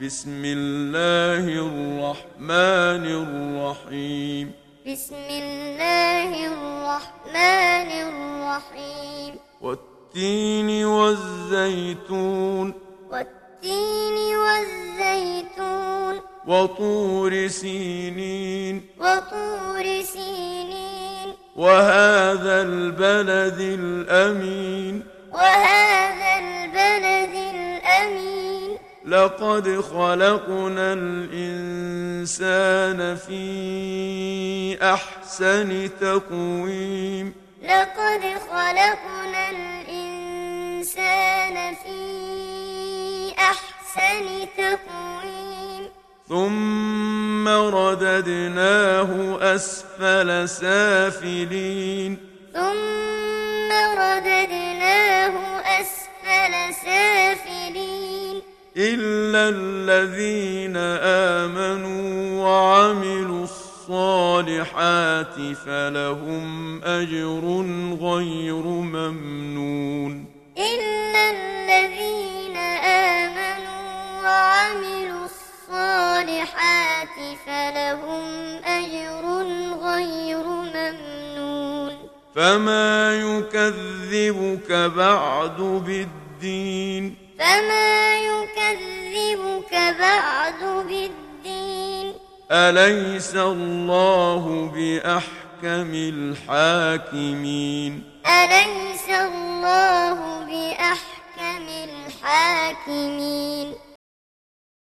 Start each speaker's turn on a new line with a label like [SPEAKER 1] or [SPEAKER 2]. [SPEAKER 1] بسم الله الرحمن الرحيم
[SPEAKER 2] بسم الله الرحمن الرحيم
[SPEAKER 1] والتين والزيتون
[SPEAKER 2] والتين والزيتون
[SPEAKER 1] وطور سينين
[SPEAKER 2] وطور سينين
[SPEAKER 1] وهذا البلد الأمين
[SPEAKER 2] وهذا البلد الأمين
[SPEAKER 1] لقد خلقنا الإنسان في أحسن تقويم
[SPEAKER 2] لقد خلقنا الإنسان في أحسن تقويم
[SPEAKER 1] ثم رددناه أسفل سافلين
[SPEAKER 2] ثم رددناه أسفل سافلين
[SPEAKER 1] إلا الذين آمنوا وعملوا الصالحات فلهم أجر غير ممنون
[SPEAKER 2] إلا الذين آمنوا وعملوا الصالحات فلهم أجر غير ممنون
[SPEAKER 1] فما يكذبك بعد بالدين
[SPEAKER 2] فما يكذبك بعد بالدين
[SPEAKER 1] أليس الله بأحكم الحاكمين
[SPEAKER 2] أليس الله بأحكم الحاكمين